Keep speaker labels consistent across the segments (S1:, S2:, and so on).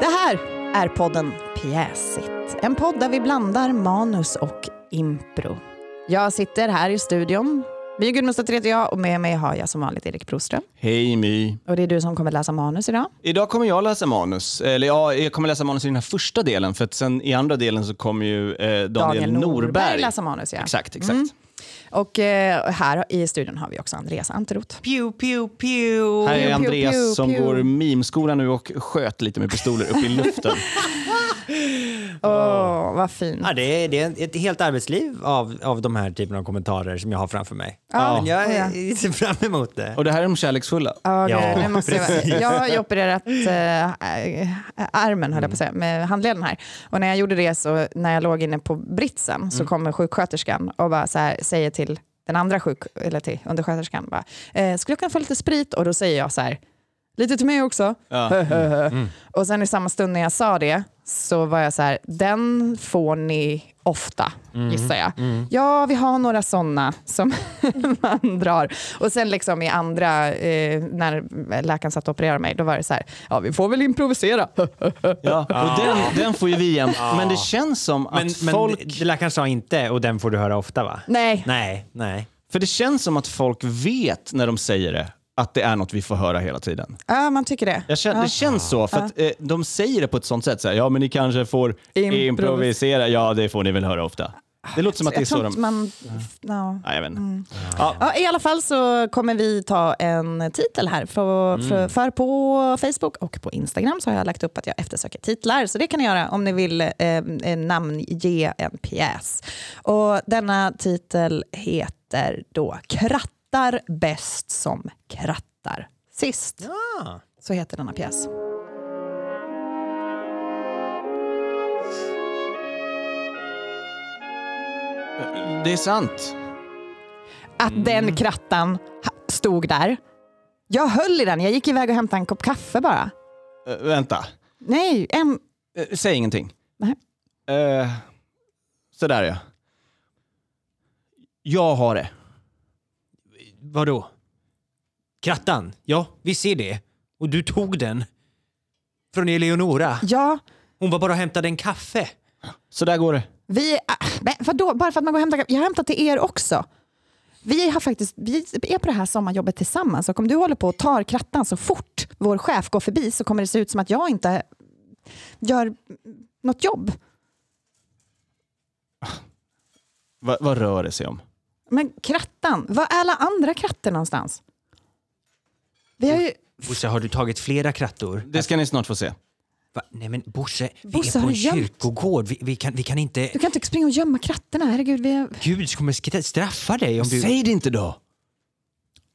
S1: Det här är podden Pjäsigt. En podd där vi blandar manus och impro. Jag sitter här i studion. My Gudmundsdotter heter jag och med mig har jag som vanligt Erik Broström.
S2: Hej My.
S1: Och det är du som kommer läsa manus idag.
S2: Idag kommer jag läsa manus. Eller ja, jag kommer läsa manus i den här första delen för att sen i andra delen så kommer ju eh, Daniel, Norberg.
S1: läser manus. Mm. Ja.
S2: Exakt, exakt.
S1: Och eh, här i studion har vi också Andreas Anterot.
S3: Pew, pew, pew.
S2: Här
S1: Pew,
S2: är
S1: pew,
S2: Andreas
S1: pew,
S2: som
S1: pew.
S2: går mimskola nu och sköt lite med pistoler upp i luften.
S1: Åh, vad fint.
S3: Ja, det, är, det är ett helt arbetsliv av, av de här typen av kommentarer som jag har framför mig.
S1: Ja.
S3: Men jag
S1: Ja.
S3: eh, ser fram emot det.
S2: och det här är de kärleksfulla.
S1: Ja,
S3: Ja,
S1: nu måste jag, jag har ju opererat eh, äh, armen, höll jag på att säga, med handleden här. Och när jag gjorde det, så när jag låg inne på britsen, så kommer sjuksköterskan och bara så här, säger till den andra sjuk, eller till undersköterskan, bara, eh, skulle jag kunna få lite sprit? Och då säger jag så här, lite till mig också. Och sen i samma stund när jag sa det, så var jag så här, den får ni ofta,
S2: Mm.
S1: gissar jag. Ja, vi har några sådana som man drar. Och sen liksom i andra, eh, när läkaren satt och opererade mig, då var det så här, ja vi får väl improvisera.
S2: Ja. Och den, den får ju vi igen. Men det känns som att
S3: men, men
S2: folk...
S3: det läkaren sa inte, och den får du höra ofta va?
S1: Nej.
S3: Nej, nej.
S2: För det känns som att folk vet när de säger det, att det är något vi får höra hela tiden.
S1: Ja, man tycker det.
S2: Jag känner, Det känns så, för att eh, de säger det på ett sånt sätt. Så här, ja, men ni kanske får
S1: Improvis-
S2: improvisera. Ja, det får ni väl höra ofta. Det låter som att det är
S1: jag
S2: så
S1: tror
S2: de... Mm.
S1: inte man... Ja.
S2: Nej, jag vet inte.
S1: Ja, I alla fall så kommer vi ta en titel här. För, för, för på Facebook och på Instagram så har jag lagt upp att jag eftersöker titlar. Så det kan ni göra om ni vill eh, eh, namnge en pjäs. Och denna titel heter då Krattar bäst som krattar sist.
S3: Ah.
S1: Så heter denna pjäs. Mm.
S2: Det är sant.
S1: Att den krattan ha- stod där. Jag höll i den, jag gick iväg och hämtade en kopp kaffe bara.
S2: Eh, vänta.
S1: Nej, en...
S2: Eh, säg ingenting.
S1: Nej.
S2: Uh, sådär ja. Jag har det.
S3: Vadå? Krattan? Ja, vi ser det. Och du tog den. Från Eleonora.
S1: Ja,
S3: Hon var bara och hämtade en kaffe.
S2: Så där går det.
S1: Vi, äh, men vadå, bara för att man går och hämtar, jag har hämtat till er också. Vi, har faktiskt, vi är på det här sommarjobbet tillsammans och om du håller på och tar krattan så fort vår chef går förbi så kommer det se ut som att jag inte gör något jobb.
S2: Va, vad rör det sig om?
S1: Men krattan, var är alla andra krattor någonstans? Vi har ju,
S3: Bosse, har du tagit flera krattor?
S2: Det ska ni snart få se.
S3: Va? Nej men Bosse, vi
S1: Bosse,
S3: är
S1: har
S3: på en
S1: du gömt?
S3: kyrkogård. Vi, vi, kan, vi kan inte...
S1: du kan inte springa och gömma krattorna, herregud. Vi är,
S3: Gud kommer sk- straffa dig om du...
S2: Säg det inte då!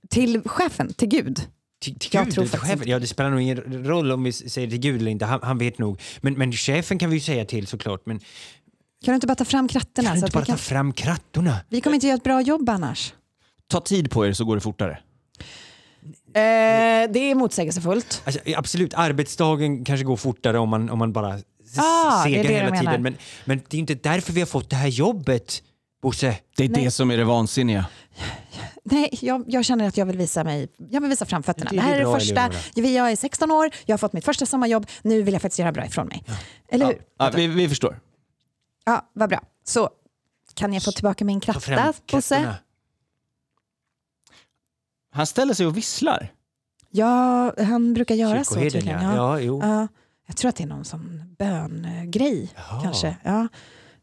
S1: till chefen, till Gud.
S3: Till, till
S1: Jag
S3: Gud?
S1: tror
S3: till
S1: faktiskt
S3: chefen?
S1: inte
S3: Ja, det spelar nog ingen roll om vi s- säger till Gud eller inte. Han, han vet nog. Men, men chefen kan vi ju säga till såklart. Men
S1: Kan du inte bara ta fram krattorna?
S3: kan du
S1: så
S3: inte
S1: att vi,
S3: bara
S1: kan,
S3: ta fram krattorna?
S1: vi kommer inte göra ett bra jobb annars.
S2: Ta tid på er så går det fortare.
S1: Eh, det är motsägelsefullt.
S3: Alltså, absolut, arbetsdagen kanske går fortare om man, om man bara s-
S1: Ah, det är
S3: segar
S1: det du
S3: hela
S1: menar.
S3: tiden. Men, men det är ju inte därför vi har fått det här jobbet, Bosse.
S2: Det är det som är det vansinniga.
S1: Nej, jag, jag känner att jag vill visa mig. Jag vill visa framfötterna.
S3: Det
S1: Det,
S3: är
S1: här är det
S3: bra,
S1: första. Jag är 16 år, jag har fått mitt första sommarjobb. Nu vill jag faktiskt göra bra ifrån mig. Eller hur? Ja.
S2: Ja, vi, vi förstår.
S1: vad bra. Så kan jag få tillbaka min
S3: Ta fram
S1: kratta, Bosse?
S3: krattorna.
S2: Han ställer sig och visslar.
S1: Ja, han brukar göra så
S3: Kyrkoherden,
S1: tydligen. Ja.
S3: ja. ja jo.
S1: Ja. Jag tror att det är någon sån böngrej
S3: Jaha.
S1: kanske. Ja.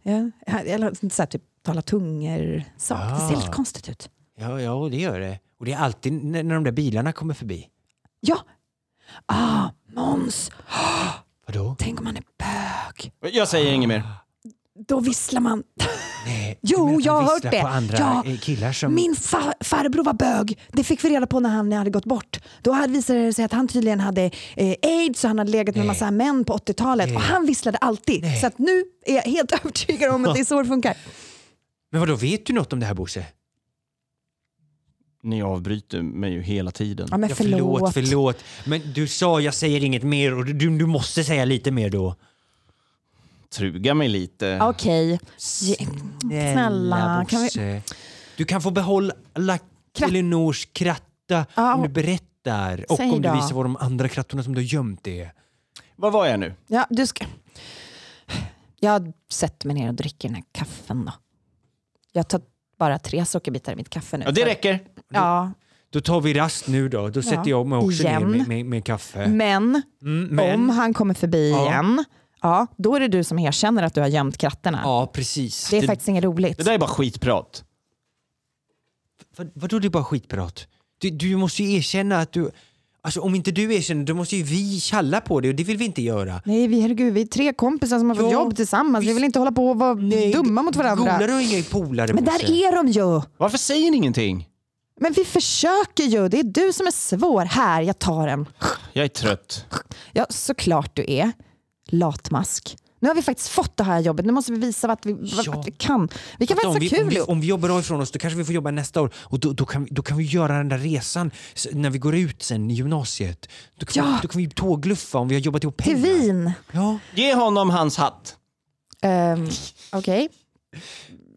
S1: Ja. Eller så här, typ tala tungor-sak. Det ser
S3: Ah.
S1: lite konstigt ut.
S3: Ja, ja, det gör det. Och det är alltid när, när de där bilarna kommer förbi.
S1: Ja. Ah, Måns,
S3: Vadå?
S1: tänk om man är bög.
S2: Jag säger inget mer.
S1: Då visslar man.
S3: Nej,
S1: Jo,
S3: menar att de
S1: jag har
S3: visslar
S1: hört det.
S3: på andra
S1: Ja,
S3: eh, killar som...
S1: Min fa- farbror var bög. Det fick vi reda på när han hade gått bort. Då hade visade det sig att han tydligen hade eh, aids och han hade legat med
S3: Nej.
S1: massa män på 80-talet. Och han visslade alltid. Så att nu är jag helt övertygad om att det är så det funkar.
S3: Men vadå, vet du något om det här Bosse?
S2: Ni avbryter mig ju hela tiden.
S1: Ja, men
S3: Ja,
S1: Eh, förlåt.
S3: förlåt, förlåt. Men du sa jag säger inget mer och du, du måste säga lite mer då.
S2: Truga mig lite.
S1: Okej. Ge- Snälla, kan vi-
S3: Bosse. Du kan få behålla Elinors kratta
S1: Ja,
S3: om du berättar och
S1: säg
S3: om du
S1: då.
S3: visar var de andra krattorna som du har gömt är.
S2: Var var jag nu?
S1: Ja, du ska... Jag sätter mig ner och dricker den här kaffen då. Jag tar bara tre sockerbitar i mitt kaffe nu.
S2: Ja, det räcker.
S1: Ja,
S3: Då tar vi rast nu då. Då sätter jag mig också
S1: Igen.
S3: ner med, med, med kaffe.
S1: men
S3: Mm, men,
S1: om han kommer förbi
S3: Ja.
S1: igen, ja, då är det du som erkänner att du har gömt kratterna.
S3: Ja, precis.
S1: Det är
S2: det-
S1: faktiskt inget roligt.
S2: Det där är bara skitprat.
S3: Vad, vadå det är bara skitprat? Du, du måste ju erkänna att du... Alltså om inte du erkänner, då måste ju vi tjalla på det och det vill vi inte göra.
S1: Nej, vi, herregud, vi är tre kompisar som har fått
S3: Ja,
S1: jobb tillsammans. Vi
S3: visst.
S1: vill inte hålla på och vara dumma mot varandra.
S3: Golare och inga polare
S1: Men där
S3: Bosse.
S1: är de ju!
S2: Varför säger ni ingenting?
S1: Men vi försöker ju. Det är du som är svår. Här, jag tar den.
S2: Jag är trött.
S1: Ja, såklart du är. Latmask. Nu har vi faktiskt fått det här jobbet. Nu måste vi visa att vi, vad-
S3: Ja.
S1: att vi kan. Vi kan
S3: om, vi,
S1: faktiskt ha
S3: om,
S1: kul
S3: vi,
S1: ihop.
S3: om vi jobbar av ifrån oss då kanske vi får jobba nästa år och då, då, kan, vi- då kan vi göra den där resan s- när vi går ut sen i gymnasiet. Då kan,
S1: Ja.
S3: vi, då kan vi tågluffa om vi har jobbat ihop
S1: Till
S3: pengar.
S1: Wien.
S3: Ja.
S2: Ge honom hans hatt.
S1: Ehm, Okej.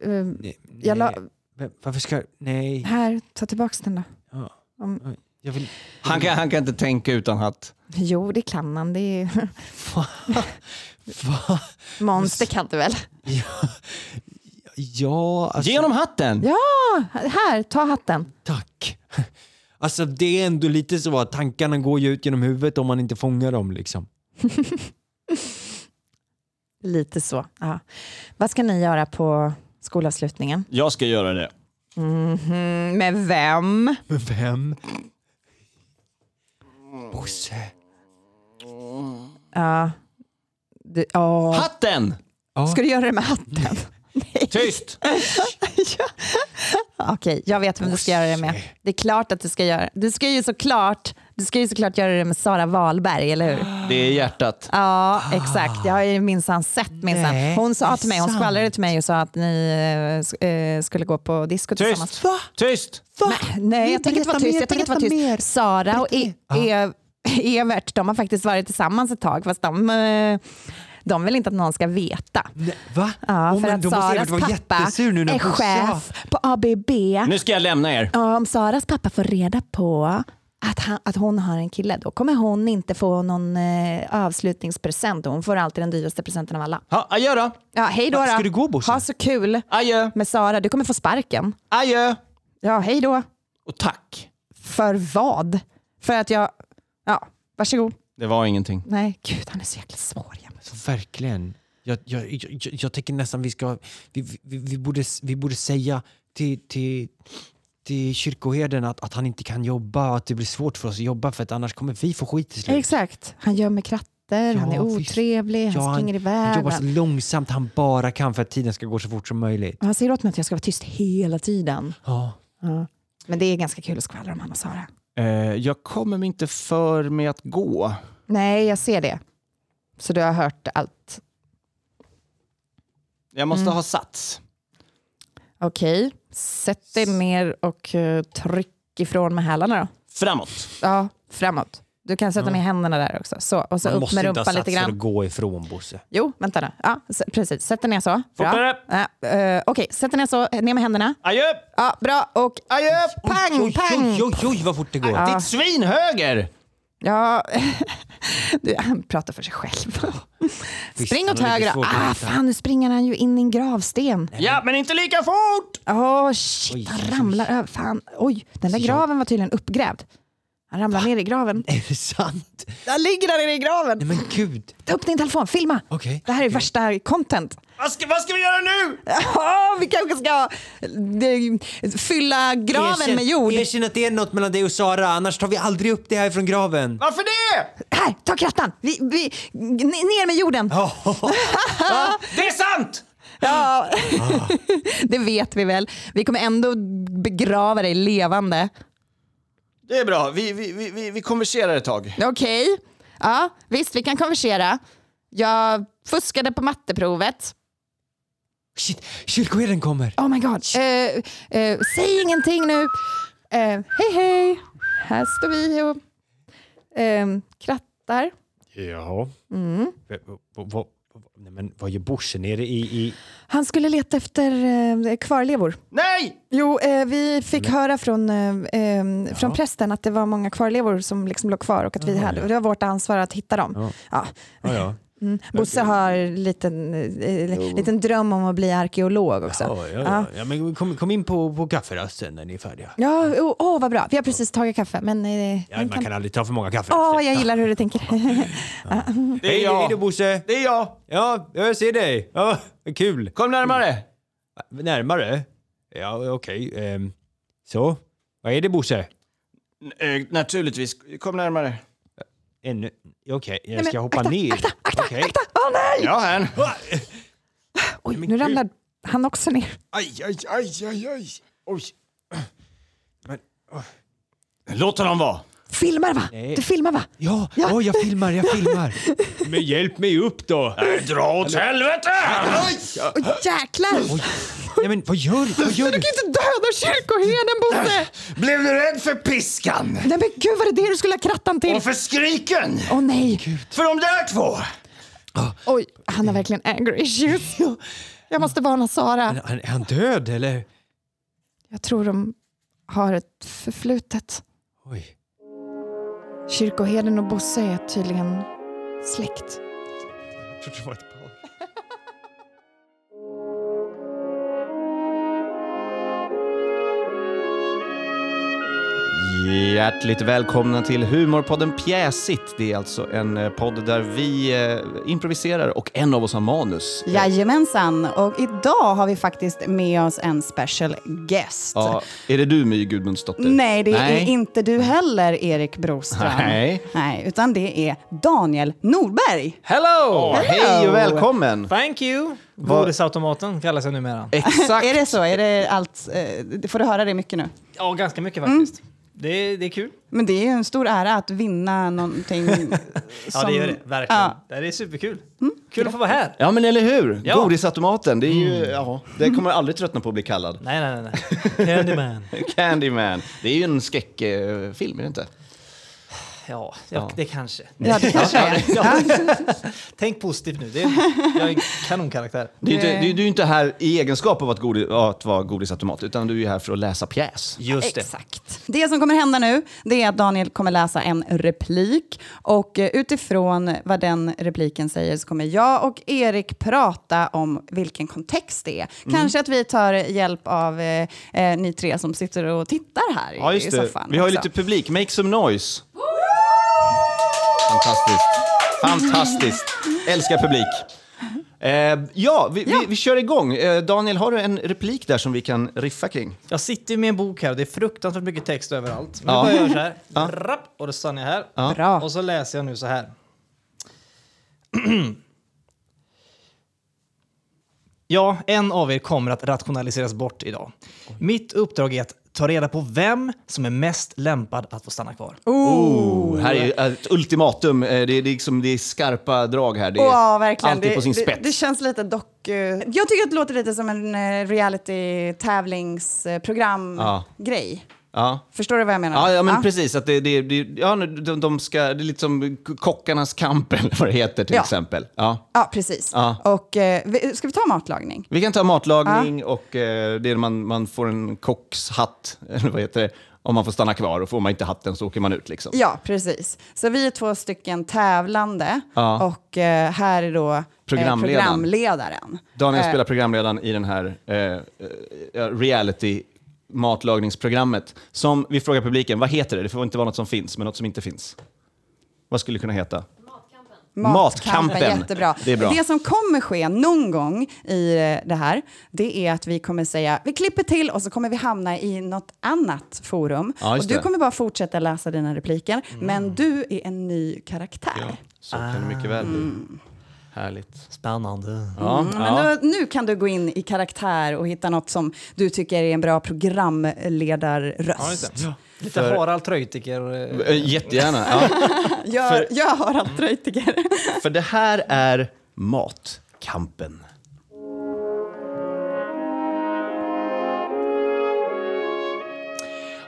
S1: Ehm,
S3: Nej, nej.
S1: jag la,
S3: Va- Varför ska... Nej.
S1: här, ta tillbaka den då.
S3: Ja.
S1: Om-
S3: Jag vill...
S2: Han kan, han kan inte tänka utan hatt.
S1: Jo, det kan han. Det är...
S3: Va?
S1: Monster kan du väl?
S3: Ja, alltså,
S2: Ge honom hatten!
S1: Här, ta hatten.
S3: tack. Alltså det är ändå lite så att tankarna går ju ut genom huvudet om man inte fångar dem liksom.
S1: Lite så. Ja. Vad ska ni göra på skolavslutningen?
S2: Jag ska göra det.
S1: Mhm, med vem?
S3: Men vem? Bosse.
S1: Ja. Du, ja.
S2: Hatten!
S3: Ja.
S1: Ska du göra det med hatten?
S2: Tyst!
S1: ja. Okej, jag vet vem du ska göra det med. Det är klart att du ska göra Du ska ju såklart, du ska ju såklart göra det med Sara Wahlberg, eller hur?
S2: Det är hjärtat.
S1: Ja, exakt. Jag har ju minsann sett minsann.
S3: Nej,
S1: Hon sa
S3: det är
S1: till mig, hon
S3: sant.
S1: skvallrade till mig och sa att ni eh, sk- eh, skulle gå på disco tillsammans.
S2: Tyst! Tyst!
S1: Men, nej,
S3: Mm,
S1: jag tänker inte vara
S3: berätta
S1: tyst.
S3: mer,
S1: jag tänker inte vara tyst.
S3: berätta
S1: Sara och e- e- Evert, de har faktiskt varit tillsammans ett tag, fast de, eh, de vill inte att någon ska veta.
S3: Nej, Va?
S1: Ja,
S3: Åh,
S1: för
S3: men
S1: att
S3: då måste
S1: Saras
S3: Evert vara
S1: pappa
S3: jättesur nu när
S1: är
S3: Bosse-
S1: chef på ABB.
S2: Nu ska jag lämna er.
S1: Ja, Om Saras pappa får reda på att, han, att hon har en kille, då kommer hon inte få någon eh, avslutningspresent. och Hon får alltid den dyraste presenten av alla.
S2: Ha, adjö då!
S1: Ja, hej då,
S3: Va,
S1: då.
S3: ska du gå, Bosse?
S1: Ha så kul
S2: Adjö!
S1: med Sara. Du kommer få sparken.
S2: Adjö!
S1: Ja, hej då.
S2: Och tack.
S1: För vad? För att jag... Ja, varsågod.
S2: Det var ingenting.
S1: Nej, gud han är så jäkla svår jämt.
S3: Så verkligen. Jag, jag, jag, jag- jag tänker nästan vi ska... Vi, vi- vi, vi, borde, vi borde säga till, till, till kyrkoherden att, att han inte kan jobba och att det blir svårt för oss att jobba för att annars kommer vi få skit till slut.
S1: Exakt. Han gömmer kratter,
S3: Ja,
S1: han är
S3: visst.
S1: otrevlig,
S3: Ja,
S1: han
S3: han-
S1: springer
S3: Han
S1: iväg.
S3: jobbar så
S1: Han,
S3: långsamt han bara kan för att tiden ska gå så fort som möjligt.
S1: han säger åt mig att jag ska vara tyst hela tiden.
S3: Ja.
S1: Ja. Men det är ganska kul att skvallra om han och Sara.
S2: Eh, jag kommer mig inte för med att gå.
S1: Nej, jag ser det. Så du har hört allt.
S2: Jag måste
S1: Mm.
S2: ha sats.
S1: Okej, sätt dig ner och eh, tryck ifrån med hälarna då.
S2: Framåt.
S1: Ja, framåt. Du kan sätta ner händerna där också. Så, och så
S3: Man
S1: upp
S3: måste
S1: med
S3: inte ha
S1: rumpan
S3: sats
S1: lite
S3: för
S1: grann.
S3: att gå ifrån Bosse.
S1: Jo, vänta nu. Ja, s- precis. Sätt dig ner så. Bra.
S2: Fortare!
S1: Ja, eh, Okej, sätt dig ner så. Ner med händerna.
S2: Adjö!
S1: Ja, bra. Och
S2: Adjö!
S1: pang,
S3: Oj,
S1: pang.
S3: oj, oj, oj vad fort det går.
S2: Ditt svin höger!
S1: Ja, du, han pratar för sig själv.
S3: Visst,
S1: Spring
S3: han
S1: åt
S3: har lite
S1: höger.
S3: svårt att
S1: Ah,
S3: hitta.
S1: fan, nu springer han ju in i en gravsten.
S2: Ja, men inte lika fort!
S1: Åh, shit,
S3: Oj,
S1: han
S3: oj, oj.
S1: ramlar över. Fan, oj, den där
S3: Så-
S1: graven var tydligen uppgrävd. Han ramlar ner i graven.
S3: Är det sant?
S1: Där ligger han nere i graven.
S3: Nej men gud.
S1: Ta upp din telefon, filma.
S3: Okej.
S1: Det här är
S3: okej.
S1: värsta content.
S2: Vad ska, vad ska vi göra nu?
S1: Ja, vi kanske ska eh, fylla graven
S3: Erkänn-
S1: med jord.
S3: Erkänn att det är något mellan dig och Sara, annars tar vi aldrig upp det här från graven.
S2: Varför det?
S1: Här, ta krattan. Vi, vi, n- ner med jorden.
S2: Det är sant!
S1: Ja, Ah. det vet vi väl. Vi kommer ändå begrava dig levande.
S2: Det är bra. Vi, vi, vi, vi, vi konverserar ett tag.
S1: Okej, ja, visst vi kan konversera. Jag fuskade på matteprovet.
S3: Shit, kyrkoherden kommer.
S1: Oh my god. Eh, eh, säg ingenting nu. Eh, hej hej, här står vi och ehm, krattar.
S3: Jaha. Nej, men vad gör Bush nere i... i...
S1: Han skulle leta efter eh, kvarlevor.
S2: Nej!
S1: Jo, eh, vi fick höra från, eh, eh, från
S3: Ja.
S1: prästen att det var många kvarlevor som liksom låg kvar och att vi
S3: Ja,
S1: hade,
S3: ja.
S1: det var vårt ansvar att hitta dem.
S3: Ja.
S1: Ja.
S3: Ja, ja.
S1: Mm. Bosse har en liten, eh, liten dröm om att bli arkeolog också.
S3: Ja, ja, ja. ja, men kom, kom in på, på kafferasten när ni är färdiga.
S1: Ja, åh oh, oh, vad bra. Vi har precis tagit kaffe. Men, eh,
S3: Ja,
S1: den
S3: man kan aldrig ta för många kafferaster.
S1: Åh, jag gillar hur du tänker.
S2: Det är
S3: Hej då
S2: jag.
S3: Bosse!
S2: Det är jag.
S3: Ja, jag ser dig. Ja, vad kul.
S2: Kom närmare.
S3: Närmare? Ja, okej. ehm, så, vad är det Bosse?
S2: N- eh, naturligtvis. Kom närmare.
S3: Ännu? Okej, jag
S1: men
S3: ska hoppa
S1: akta,
S3: ner.
S1: akta, akta,
S3: Okej.
S1: akta! Åh nej!
S2: Ja, här.
S3: Va?
S1: Oj,
S3: men
S1: nu
S3: gud.
S1: ramlade han också ner.
S2: Aj, aj, aj, aj, aj. Oj. Men, oh. Låt honom vara.
S1: Filmar va?
S3: Nej.
S1: Du filmar va?
S3: Ja,
S1: Ja.
S3: ja. jag filmar, jag filmar. Men hjälp mig upp då.
S2: Nej, Dra åt helvete!
S1: Åh jäklar!
S3: Oj. Nej men vad gör du? Vad gör
S1: Du
S3: du? Äh.
S1: kan inte döda kyrkoherden Bosse!
S2: Blev du rädd för piskan?
S1: Nej men gud var det det du skulle ha krattan till?
S2: Och för skriken?
S1: Åh nej!
S2: För de där två?
S1: Oj, han har verkligen anger issues. Jag måste varna Sara.
S3: Han, är han död eller?
S1: Jag tror de har ett förflutet.
S3: Oj.
S1: Kyrkoherden och Bosse är tydligen släkt.
S3: Jag trodde det var ett par.
S2: Hjärtligt välkomna till humorpodden Pjäsigt. Det är alltså en eh, podd där vi eh, improviserar och en av oss har manus.
S4: Jajamensan, och idag har vi faktiskt med oss en special guest.
S2: Ja, är det du My Gudmundsdotter?
S4: Nej, det
S2: Nej.
S4: är inte du heller, Erik Broström.
S2: Nej.
S4: Nej, utan det är Daniel Norberg.
S2: Hello! Hej och välkommen!
S5: Thank you! Godisautomaten kallas jag numera.
S2: Exakt.
S4: Är det så? Är det allt? eh, Får du höra det mycket nu?
S5: Ja, ganska mycket faktiskt. Det, det är kul.
S4: Men det är ju en stor ära att vinna någonting.
S5: Ja,
S4: som-
S5: det gör det. Verkligen.
S4: Ja.
S5: Det är superkul. Kul att få vara här.
S2: Ja men eller hur?
S5: Ja.
S2: Godisautomaten, det är ju,
S4: Mm.
S2: ja, det kommer jag aldrig tröttna på att bli kallad.
S5: Nej, nej, nej. nej. Candyman.
S2: Candyman. Det är ju en skräckfilm, är det inte?
S5: Ja, ja, det kanske.
S4: Ja, det kanske är.
S5: Ja. Tänk positivt nu. Det är, jag är en kanonkaraktär.
S2: Det är inte,
S4: Eh.
S2: du, du är ju inte här i egenskap av att, godi, att vara godisautomat, utan du är ju här för att läsa pjäs.
S5: Just det.
S4: Exakt. Det som kommer hända nu det är att Daniel kommer läsa en replik och eh, utifrån vad den repliken säger så kommer jag och Erik prata om vilken kontext det är.
S2: Mm.
S4: Kanske att vi tar hjälp av eh, eh, ni tre som sitter och tittar här i, i soffan.
S2: Vi har ju
S4: också.
S2: lite publik. Make some noise. Fantastiskt. Fantastiskt. Älskar publik. Eh, ja, vi, Vi, vi kör igång. Eh, Daniel, har du en replik där som vi kan riffa kring?
S5: Jag sitter ju med en bok här och det är fruktansvärt mycket text överallt. Men
S2: Ja.
S5: ja. jag gör så här. Rapp, och då stannar jag här.
S4: Bra.
S5: Och så läser jag nu så här. Ja, en av er kommer att rationaliseras bort idag. Mitt uppdrag är att ta reda på vem som är mest lämpad att få stanna kvar.
S2: Oh, här är ju ett ultimatum. Eh, Det är, det är, liksom, det är skarpa drag här. Det är
S4: Ja, verkligen.
S2: alltid
S4: det,
S2: på sin
S4: det,
S2: spets.
S4: det känns lite dock... eh, Jag tycker att det låter lite som en eh,
S2: Ja. ja.
S4: reality-tävlingsprogram-grej. Förstår du vad jag menar?
S2: Ja, ja men precis. Att det, det, det, ja, nu- de, de ska, det är lite som kockarnas kamp, eller vad det heter till
S4: Ja.
S2: exempel. Ja.
S4: Ja, precis.
S2: Ja.
S4: Och, eh, vi- ska vi ta matlagning?
S2: Vi kan ta matlagning och eh, det är man, man får en kockshatt, eller vad heter det, om man får stanna kvar. Och får man inte hatten så åker man ut liksom.
S4: Ja, precis. Så vi är två stycken tävlande
S2: Ja.
S4: och eh, här är då eh,
S2: Programledaren.
S4: programledaren.
S2: Daniel
S4: Eh,
S2: spelar programledaren i den här eh, eh, reality matlagningsprogrammet. Som vi frågar publiken, vad heter det? Det får inte vara något som finns, men något som inte finns. Vad skulle det kunna heta? Matkampen.
S4: Jättebra.
S2: Det är bra.
S4: som kommer ske någon gång i eh, det här, det är att vi kommer säga, vi klipper till och så kommer vi hamna i något annat forum.
S2: Ja,
S4: och
S2: just
S4: du
S2: det. Mm.
S4: kommer bara fortsätta läsa dina repliker, men du är en ny karaktär.
S2: Så kan det mycket väl bli. Härligt.
S5: Spännande.
S2: Ja,
S4: Ah. Mm, Men nu, nu kan du gå in i karaktär och hitta något som du tycker är en bra programledarröst.
S5: Lite Harald Treutiger. eh,
S2: Eh, Jättegärna. Ja.
S4: Gör, jag har allt Treutiger.
S2: För det här är matkampen.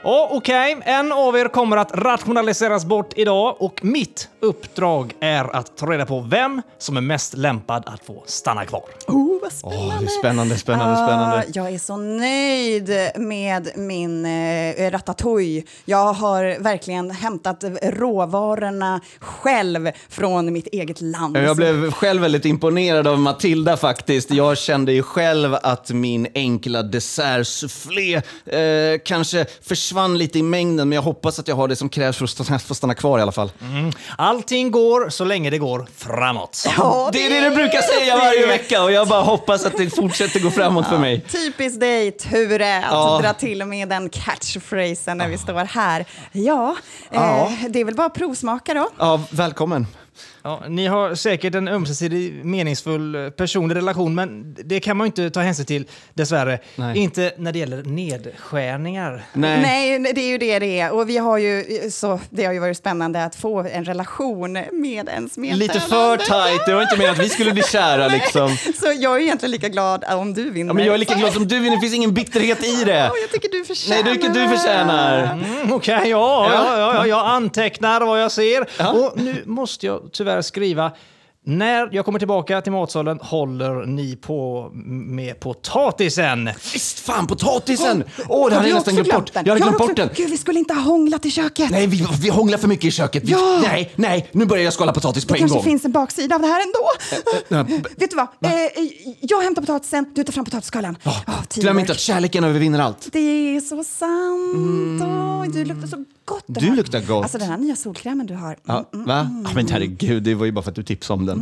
S5: Ja, okej. En av er kommer att rationaliseras bort idag och mitt uppdrag är att ta reda på vem som är mest lämpad att få stanna kvar.
S4: Oh, vad spännande!
S2: Åh, det är spännande, spännande, spännande.
S4: Ah, jag är så nöjd med min eh, ratatouille. Jag har verkligen hämtat råvarorna själv från mitt eget land.
S2: Jag blev själv väldigt imponerad av Matilda faktiskt. Jag kände ju själv att min enkla dessertsoufflé eh, kanske försvann lite i mängden, men jag hoppas att jag har det som krävs för att stanna, för att stanna kvar i alla fall.
S5: Mm. Allting går så länge det går framåt.
S4: Ja,
S2: Det är det du brukar säga varje vecka och jag bara hoppas att det fortsätter gå framåt för mig.
S4: Typiskt dig, Ture, att
S2: Ja. Ah.
S4: dra till med den catchphrasen när vi står här. Ja,
S2: Ja.
S4: Eh, det är väl bara att provsmaka då.
S2: Ja, välkommen.
S5: Ja, ni har säkert en ömsesidig meningsfull eh, personlig relation, men det kan man ju inte ta hänsyn till dessvärre.
S2: Nej.
S5: Inte när det gäller nedskärningar.
S2: Nej.
S4: Nej. det är ju det det är. Och vi har ju, så, det har ju varit spännande att få en relation med ens medtävlande.
S2: Lite för tight. Det var inte meningen att vi skulle bli kära liksom.
S4: Så jag är egentligen lika glad äh, om du vinner.
S2: Ja, men jag är lika glad som du vinner. Det finns ingen bitterhet i det.
S4: Åh, jag tycker du förtjänar
S2: Nej, du tycker du förtjänar.
S5: Mm, Okej, ja, ja. Ja, ja, jag antecknar vad jag ser.
S2: Ja.
S5: Och nu måste jag tyvärr skriva. När jag kommer tillbaka till matsalen håller ni på med potatisen.
S2: Visst fan, potatisen! Åh, det hade jag
S4: har
S2: nästan
S4: också
S2: glömt bort. Jag hade
S4: har
S2: glömt
S4: också-
S2: bort den.
S4: Gud, vi skulle inte ha hånglat i köket.
S2: Nej, vi, vi hånglar för mycket i köket. Vi,
S4: Ja.
S2: Nej, nej, nu börjar jag skala potatis på en
S4: det kanske
S2: gång. Eh,
S4: finns en baksida av det här ändå.
S2: nej, b-
S4: Vet du vad? Eh, jag hämtar potatisen, du tar fram potatisskalan. Åh,
S2: Glöm
S4: teamwork.
S2: inte att kärleken övervinner allt.
S4: Det är så sant. Åh, du luktar så gott. den
S2: Mm. Du
S4: här-
S2: luktar gott.
S4: Alltså den här nya solkrämen du har.
S2: Ja, va?
S4: Mm.
S2: Ja, men herregud, det var ju bara för att du tipsade om den.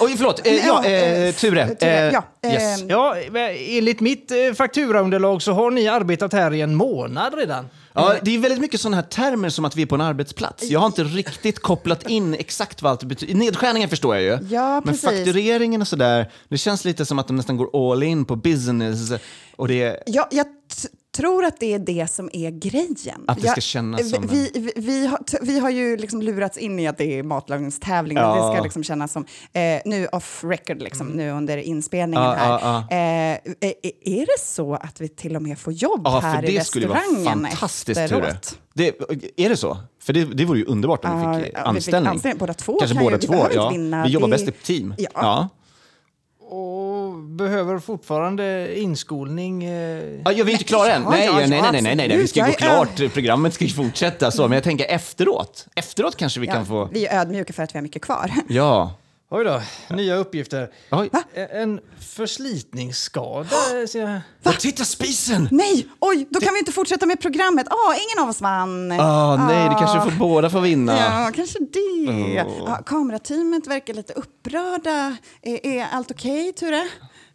S2: Oj, förlåt. Eh, ja,
S4: Ja,
S2: eh,
S4: eh,
S2: Ture.
S4: Ture,
S2: Eh,
S4: ja, eh,
S2: yes.
S5: Ja, enligt mitt eh, fakturaunderlag så har ni arbetat här i en månad redan.
S2: Ja, det är väldigt mycket sådana här termer som att vi är på en arbetsplats. Jag har inte riktigt kopplat in exakt vad allt betyder. Nedskärningen förstår jag ju.
S4: Ja,
S2: men
S4: precis.
S2: faktureringen och sådär, det känns lite som att de nästan går all in på business. Och det är...
S4: Ja, jag t- tror att det är det som är grejen.
S2: Att det ska
S4: jag,
S2: kännas
S4: vi,
S2: som en-
S4: vi, vi, vi, har, t- vi har ju liksom lurats in i att det är matlagningstävling och
S2: Ja. Mm.
S4: det ska liksom kännas som, eh, nu off record, liksom, nu under inspelningen
S2: Ja,
S4: här.
S2: ja,
S4: Eh, eh, är det så att vi till och med får jobb
S2: Ja,
S4: här
S2: för
S4: i
S2: det skulle vara
S4: restaurangen
S2: fantastiskt, Ture.
S4: efteråt?
S2: Det, är det så? För det, det vore ju underbart om
S4: Ja,
S2: vi
S4: ja,
S2: fick eh,
S4: vi fick
S2: anställning.
S4: anställning. Båda två
S2: Kanske
S4: kan
S2: båda
S4: ju- vi
S2: två,
S4: behöver
S2: ja.
S4: inte vinna.
S2: Vi jobbar
S4: Det-
S2: bäst i team.
S4: Ja.
S2: Ja.
S5: Och behöver fortfarande inskolning. eh.
S2: Ja, jag är inte klara än.
S4: Ja,
S2: Nej,
S4: ja,
S2: nej,
S4: ja,
S2: nej, nej, nej, nej, nej. vi
S4: absolut.
S2: ska ju gå
S4: Jag är-
S2: klart. Programmet ska ju fortsätta så, men jag tänker efteråt. Efteråt kanske vi
S4: Ja,
S2: kan få...
S4: Vi är ödmjuka för att vi har mycket kvar.
S2: Ja.
S5: Oj då, nya uppgifter.
S2: Oj.
S5: E- En förslitningsskada ser jag.
S2: Va? Titta, spisen!
S4: Nej, oj, då kan vi inte fortsätta med programmet. Ah, ingen av oss vann.
S2: Ah, nej, det kanske
S4: Ah.
S2: får båda får vinna.
S4: Ja, kanske det.
S2: Oh.
S4: Ja, kamerateamet verkar lite upprörda. Är, är allt okej, Ture?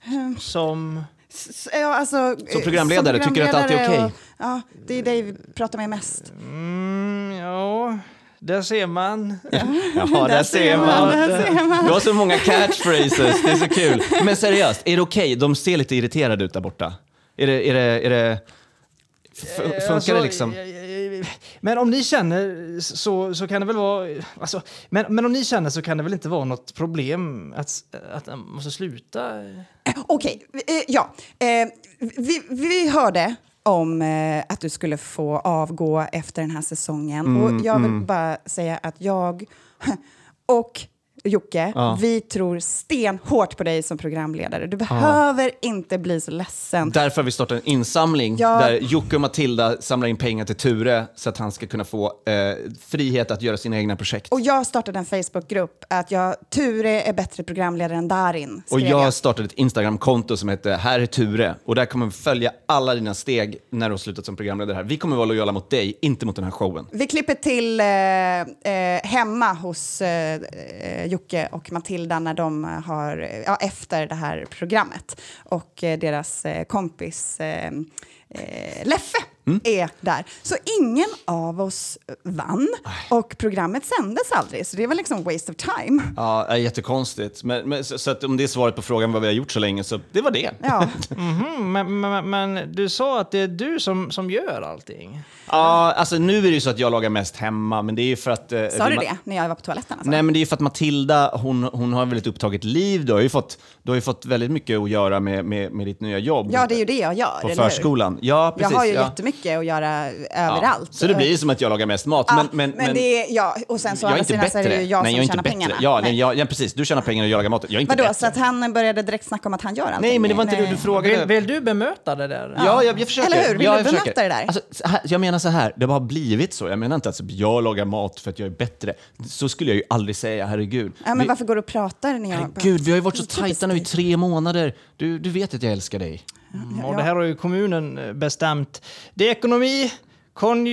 S4: Ehm,
S5: Som...
S4: S- Ja, alltså, eh, som
S2: programledare, tycker du att allt är
S4: programledare
S2: okej?
S4: och- Ja, det är dig vi pratar med mest.
S5: Mm, ja, där ser man.
S2: Jaha, där ser man.
S4: Där ser man.
S2: Du har så många catchphrases, det är så kul. Men seriöst, är det okej? De ser lite irriterade ut där borta. Är det... Är det, är det f- funkar
S5: Alltså,
S2: det liksom?
S5: eh, eh, Men om ni känner så, så kan det väl vara... Alltså, men, men om ni känner så kan det väl inte vara något problem att, s- att man måste sluta? Mm,
S4: Okej, eh, ja. Eh, Vi, vi hörde om eh, att du skulle få avgå efter den här säsongen.
S2: Mm,
S4: och jag vill bara säga att jag och Jocke,
S2: Ja.
S4: vi tror stenhårt på dig som programledare. Du behöver inte bli så ledsen.
S2: Därför har vi startat en insamling
S4: Ja.
S2: där Jocke och Matilda samlar in pengar till Ture så att han ska kunna få eh, frihet att göra sina egna projekt.
S4: Och jag startade en Facebookgrupp att jag, Ture är bättre programledare än Darin.
S2: Och
S4: skrev
S2: jag startade ett Instagram-konto som heter Här är Ture. Och där kommer vi följa alla dina steg när du har slutat som programledare här. Vi kommer vara lojala mot dig, inte mot den här showen.
S4: Vi klipper till eh, eh, hemma hos eh, eh, Jocke och Matilda när de har, eh, ja, efter det här programmet. Och eh, deras eh, kompis eh, eh, Leffe
S2: Mm.
S4: är där. Så ingen av oss vann och programmet sändes aldrig. Så det var liksom waste of time.
S2: Ja, det är jättekonstigt. Men, men, så, så att om det är svaret på frågan vad vi har gjort så länge, så det var det.
S4: Ja.
S5: Mm, men, men, men du sa att det är du som, som gör allting.
S2: Ja, alltså nu är det ju så att jag lagar mest hemma, men det är ju för att... Eh,
S4: Sa du
S2: Ma-
S4: det när jag var på toaletten? Alltså?
S2: Nej, men det är ju för att Matilda, hon, hon har ett väldigt upptaget liv. Du har ju fått, du har ju fått väldigt mycket att göra med, med, med ditt nya jobb.
S4: Ja, det är ju det jag gör.
S2: På
S4: eller hur?
S2: förskolan. Ja, precis.
S4: jag har ju
S2: ja.
S4: jättemycket mycket att göra
S2: Ja.
S4: överallt.
S2: Så det blir ju som att jag lagar mest mat.
S4: Ja,
S2: men, men, men
S4: det är, ja, och sen så å
S2: jag är
S4: andra
S2: inte
S4: sidan så är det
S2: bättre.
S4: ju jag
S2: nej,
S4: som
S2: jag är inte
S4: tjänar
S2: bättre.
S4: pengarna.
S2: Ja,
S4: Nej.
S2: nej. Jag, ja, precis. Du tjänar pengar och jag lagar maten. Jag är inte
S4: Vadå,
S2: bättre.
S4: så att han började direkt snacka om att han gör allting?
S2: Nej, men det var inte
S4: Nej.
S2: det du frågade.
S6: Vill, vill du bemöta det där?
S2: Ja, jag, jag försöker.
S4: Eller hur? Vill
S2: ja,
S4: du
S2: jag försöker.
S4: bemöta det där?
S2: Alltså, så här- jag menar så här, det har blivit så. Jag menar inte att jag lagar mat för att jag är bättre. Så skulle jag ju aldrig säga, herregud.
S4: Ja, men
S2: Vi-
S4: varför går du och pratar när jag...
S2: Herregud, vi har ju varit så
S4: Typiskt
S2: tajta nu i
S4: dig.
S2: tre månader. Du, du vet att jag älskar dig.
S5: Mm, Och det här har ju kommunen eh, bestämt. Det är ekonomi,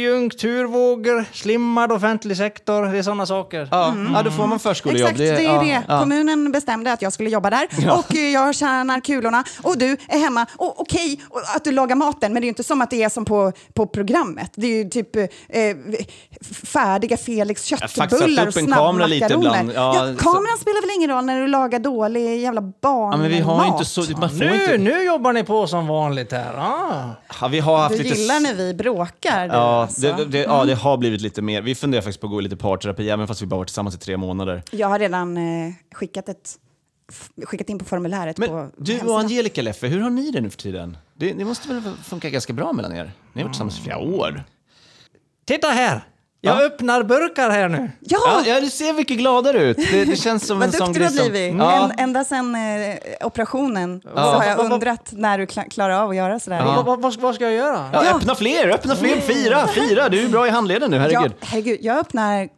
S5: konjunkturvågor, slimmad offentlig sektor, det är sådana saker.
S2: Ja, ja då får man förskolejobb.
S4: Exakt, det är
S2: ja,
S4: det.
S2: ja.
S4: Kommunen bestämde att jag skulle jobba där och eh, jag tjänar kulorna och du är hemma. Och okej och att du lagar maten, men det är ju inte som att det är som på, på programmet. Det är ju typ eh, f- färdiga Felix
S2: faktiskt satt
S4: köttbullar
S2: upp
S4: och
S2: en kamera lite
S4: snabbmakaroner.
S2: ibland. Ja,
S4: Ja,
S2: så-
S4: kameran spelar väl ingen roll när du lagar dålig jävla
S2: ja,
S4: barnmat?
S2: men vi har ju inte så... Man får
S5: Nu,
S2: inte...
S5: nu jobbar ni på som vanligt här. Ah.
S2: Ja, vi har haft
S4: Du
S2: lite... s-
S4: gillar när vi bråkar. du,
S2: Ja
S4: alltså.
S2: det, det, ja, det har blivit lite mer. Vi funderar faktiskt på att gå i lite parterapi, även fast vi bara varit tillsammans i tre månader.
S4: Jag har redan eh, skickat, ett, f- skickat in på formuläret på
S2: Men du och
S4: hemsidan.
S2: Angelica Leffe, hur har ni det nu för tiden? Det, det måste väl funka ganska bra mellan er? Ni har varit tillsammans i flera år.
S5: Titta här! Jag
S2: Ja.
S5: öppnar burkar här nu.
S2: Ja, ja, du ser mycket gladare ut. Det, det känns som en
S4: Vad
S2: sån
S4: duktig du
S2: grej
S4: har
S2: som...
S4: blivit.
S2: Ja.
S4: Än- Ända sedan eh, operationen så har jag
S5: Vad- vad-
S4: undrat när du kla- klarar av att göra sådär.
S5: Vad- Vad, vad, vad ska jag göra?
S2: Ja, öppna fler, öppna
S4: Mm.
S2: fler, fira, fira. Du är bra i handleden nu, herregud.
S4: Jag, herregud, jag öppnar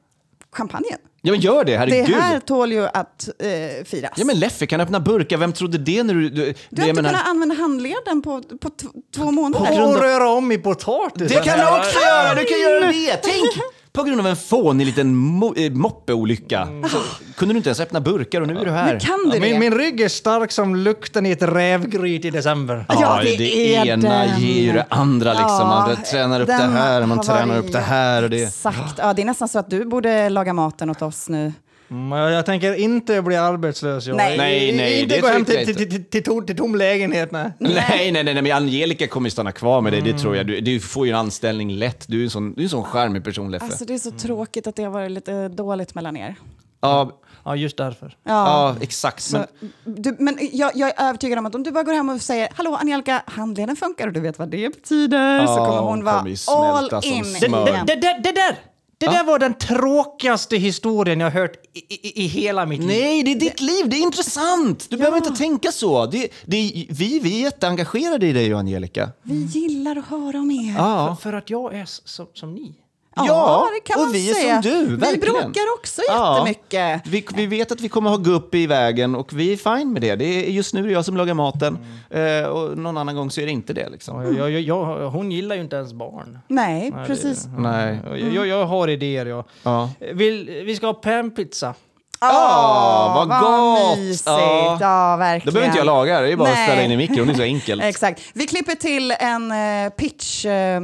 S4: champagnen.
S2: Ja, men gör det, herregud.
S4: Det här tål ju att eh, firas.
S2: Ja, men Leffe kan öppna burkar. Vem trodde det när du... Du,
S4: du har
S2: jag
S4: inte
S2: menar-
S4: kunnat använda handleden på, på t- två
S5: Och
S4: månader.
S5: röra om i potatis.
S2: Det kan du också göra! Du kan göra det! Tänk! På grund av en fånig liten mo- eh, moppeolycka så kunde du inte ens öppna burkar och nu är du här.
S4: Hur kan du
S5: Ja,
S4: det?
S5: min, min rygg är stark som lukten i ett rävgryt i december.
S4: Ja, det är
S2: ena
S4: den.
S2: ger ju det andra liksom. man
S4: Ja,
S2: tränar upp det
S4: den
S2: här, man
S4: har
S2: tränar
S4: varit-
S2: upp det här och det.
S4: Exakt. Ja, det är nästan så att du borde laga maten åt oss nu.
S5: Mm, jag, jag tänker inte bli arbetslös. Jag.
S4: Nej.
S2: Nej, nej,
S5: Inte
S2: det
S5: gå hem
S2: tycker
S5: till,
S2: jag
S5: till,
S2: inte.
S5: till, till, tom, till tom lägenhet. Nej.
S4: Mm.
S2: Nej, nej, nej, nej, men Angelica kommer ju stanna kvar med dig, det tror jag. Du, du får ju en anställning lätt. Du är en sån, du är en sån charmig person, Leffe.
S4: Alltså, det är så tråkigt att det har varit lite dåligt mellan er.
S2: ja,
S5: Ja, just därför.
S2: ja, exakt. Men,
S4: Så, du, men jag, jag är övertygad om att om du bara går hem och säger hallå Angelica, handleden funkar och du vet vad det betyder så
S2: Ja,
S4: kommer hon
S2: hon
S4: vara
S2: kommer ju smälta
S4: all
S2: som
S4: in.
S2: smör.
S5: Det,
S2: Smör.
S5: det, det, det, det där! Det
S2: Ja.
S5: där var den tråkigaste historien jag hört i, i, i hela mitt liv.
S2: Nej, det är ditt liv, det är intressant! Du behöver inte tänka så. Det, det, är- vi, vi är jätteengagerade i dig och Angelica.
S4: Vi gillar att höra om er.
S2: Ja.
S5: För att jag är s- som, som ni.
S2: Ja,
S4: det kan
S2: och
S4: man
S2: vi är
S4: säga.
S2: som du,
S4: Vi
S2: verkligen.
S4: bråkar också
S2: Ja.
S4: jättemycket.
S2: Vi, vi vet att vi kommer ha gupp i vägen och vi är fine med det. det är, just nu är det jag som lagar maten
S4: Mm.
S2: eh, och någon annan gång så är det inte det. Liksom.
S5: Jag, jag, jag, jag, hon gillar ju inte ens barn.
S4: Nej, precis.
S2: Nej.
S5: Jag, jag, jag har idéer jag.
S2: Ja.
S5: Vill, vi ska ha panpizza.
S2: Ah, vad gott!
S4: mysigt.
S2: Ja.
S4: Ja, verkligen.
S2: Då behöver inte jag laga, det är bara
S4: Nej.
S2: att ställa in i mikron, det är så enkelt.
S4: Exakt. Vi klipper till en eh, pitch... Eh,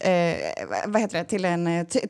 S4: eh, vad heter det? Till en eh, t-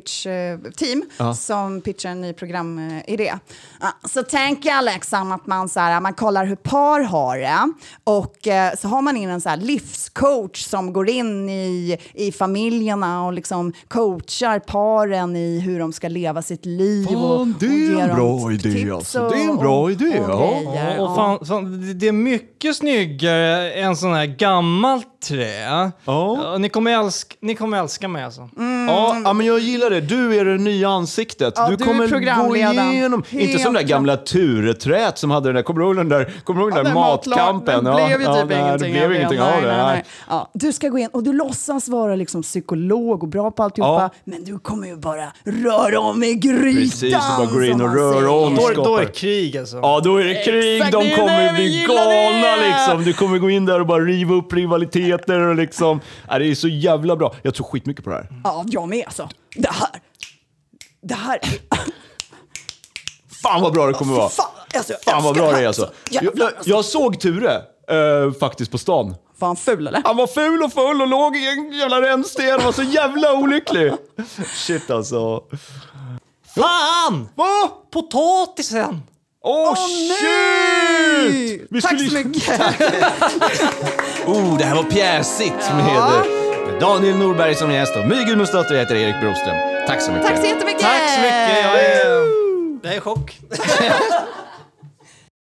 S4: tv-pitch-team som pitchar en ny programidé. Ah, så tänker jag liksom att man, så här, man kollar hur par har det och eh, så har man in en så här, livscoach som går in i, i familjerna och liksom coachar paren i hur de ska leva sitt liv. och,
S2: Fan, det är
S4: och ger
S2: en
S4: dem
S2: bra idé,
S4: tips
S2: alltså.
S4: och-
S2: Det är en bra
S4: och-
S2: idé,
S4: och
S2: ja.
S4: grejer.
S5: Och fan, fan, det- det är mycket snyggare än sån här gammalt trä. Ja, ni, kommer älska, ni kommer älska mig alltså.
S2: Mm. Ja, ja, men jag gillar det. Du är det nya ansiktet.
S4: Mm. Ja,
S2: du
S4: du är
S2: kommer gå
S4: programledaren.
S2: igenom. Inte
S4: Helt
S2: som det där gamla Tureträt som hade den där, kommer du ihåg den där, kommer du ihåg den där matkampen?
S4: Det blev ju
S2: ja,
S4: typ
S2: nej,
S4: ingenting,
S2: det
S4: av
S2: blev ingenting
S4: nej,
S2: av det.
S4: nej,
S2: nej.
S4: nej. Ja, du ska gå in och du låtsas vara liksom psykolog och bra på alltihopa, men du kommer ju bara röra om i grytan.
S2: Precis, du bara går in
S4: som
S2: och
S4: man
S2: rör
S4: säger.
S2: om.
S5: Då, är- då är det krig alltså.
S2: Ja, då är det krig.
S4: Exakt, det
S2: De
S4: är
S2: kommer
S4: det vi
S2: bli
S4: gillar
S2: galna
S4: det.
S2: liksom. Du kommer gå in där och bara riva upp rivaliteter och liksom. Ja, det är så jävla bra. Jag tror skitmycket på det här.
S4: Ja, jag med alltså. Det här. Det här.
S2: Fan vad bra det kommer vara.
S4: Fan, alltså, jag
S2: Fan vad
S4: älskar
S2: bra det
S4: här,
S2: är alltså. Jag,
S4: Jävlar,
S2: jag,
S4: alltså.
S2: jag såg Ture. eh, faktiskt på stan.
S4: Var han ful eller?
S2: Han var ful och full och låg i en jävla rännsten och var så jävla olycklig. Shit alltså.
S5: Fan!
S2: Va?
S5: Potatisen!
S2: Åh oh,
S4: nej!
S2: shit! Vi
S4: Tack
S2: skulle-
S4: så mycket.
S2: Oh, det här var pjäsigt med eh, Daniel Norberg som gäst och My Gudmundsdotter heter Erik Broström. Tack så mycket.
S4: Tack så jättemycket.
S5: Tack så mycket! Jag är... Det är chock.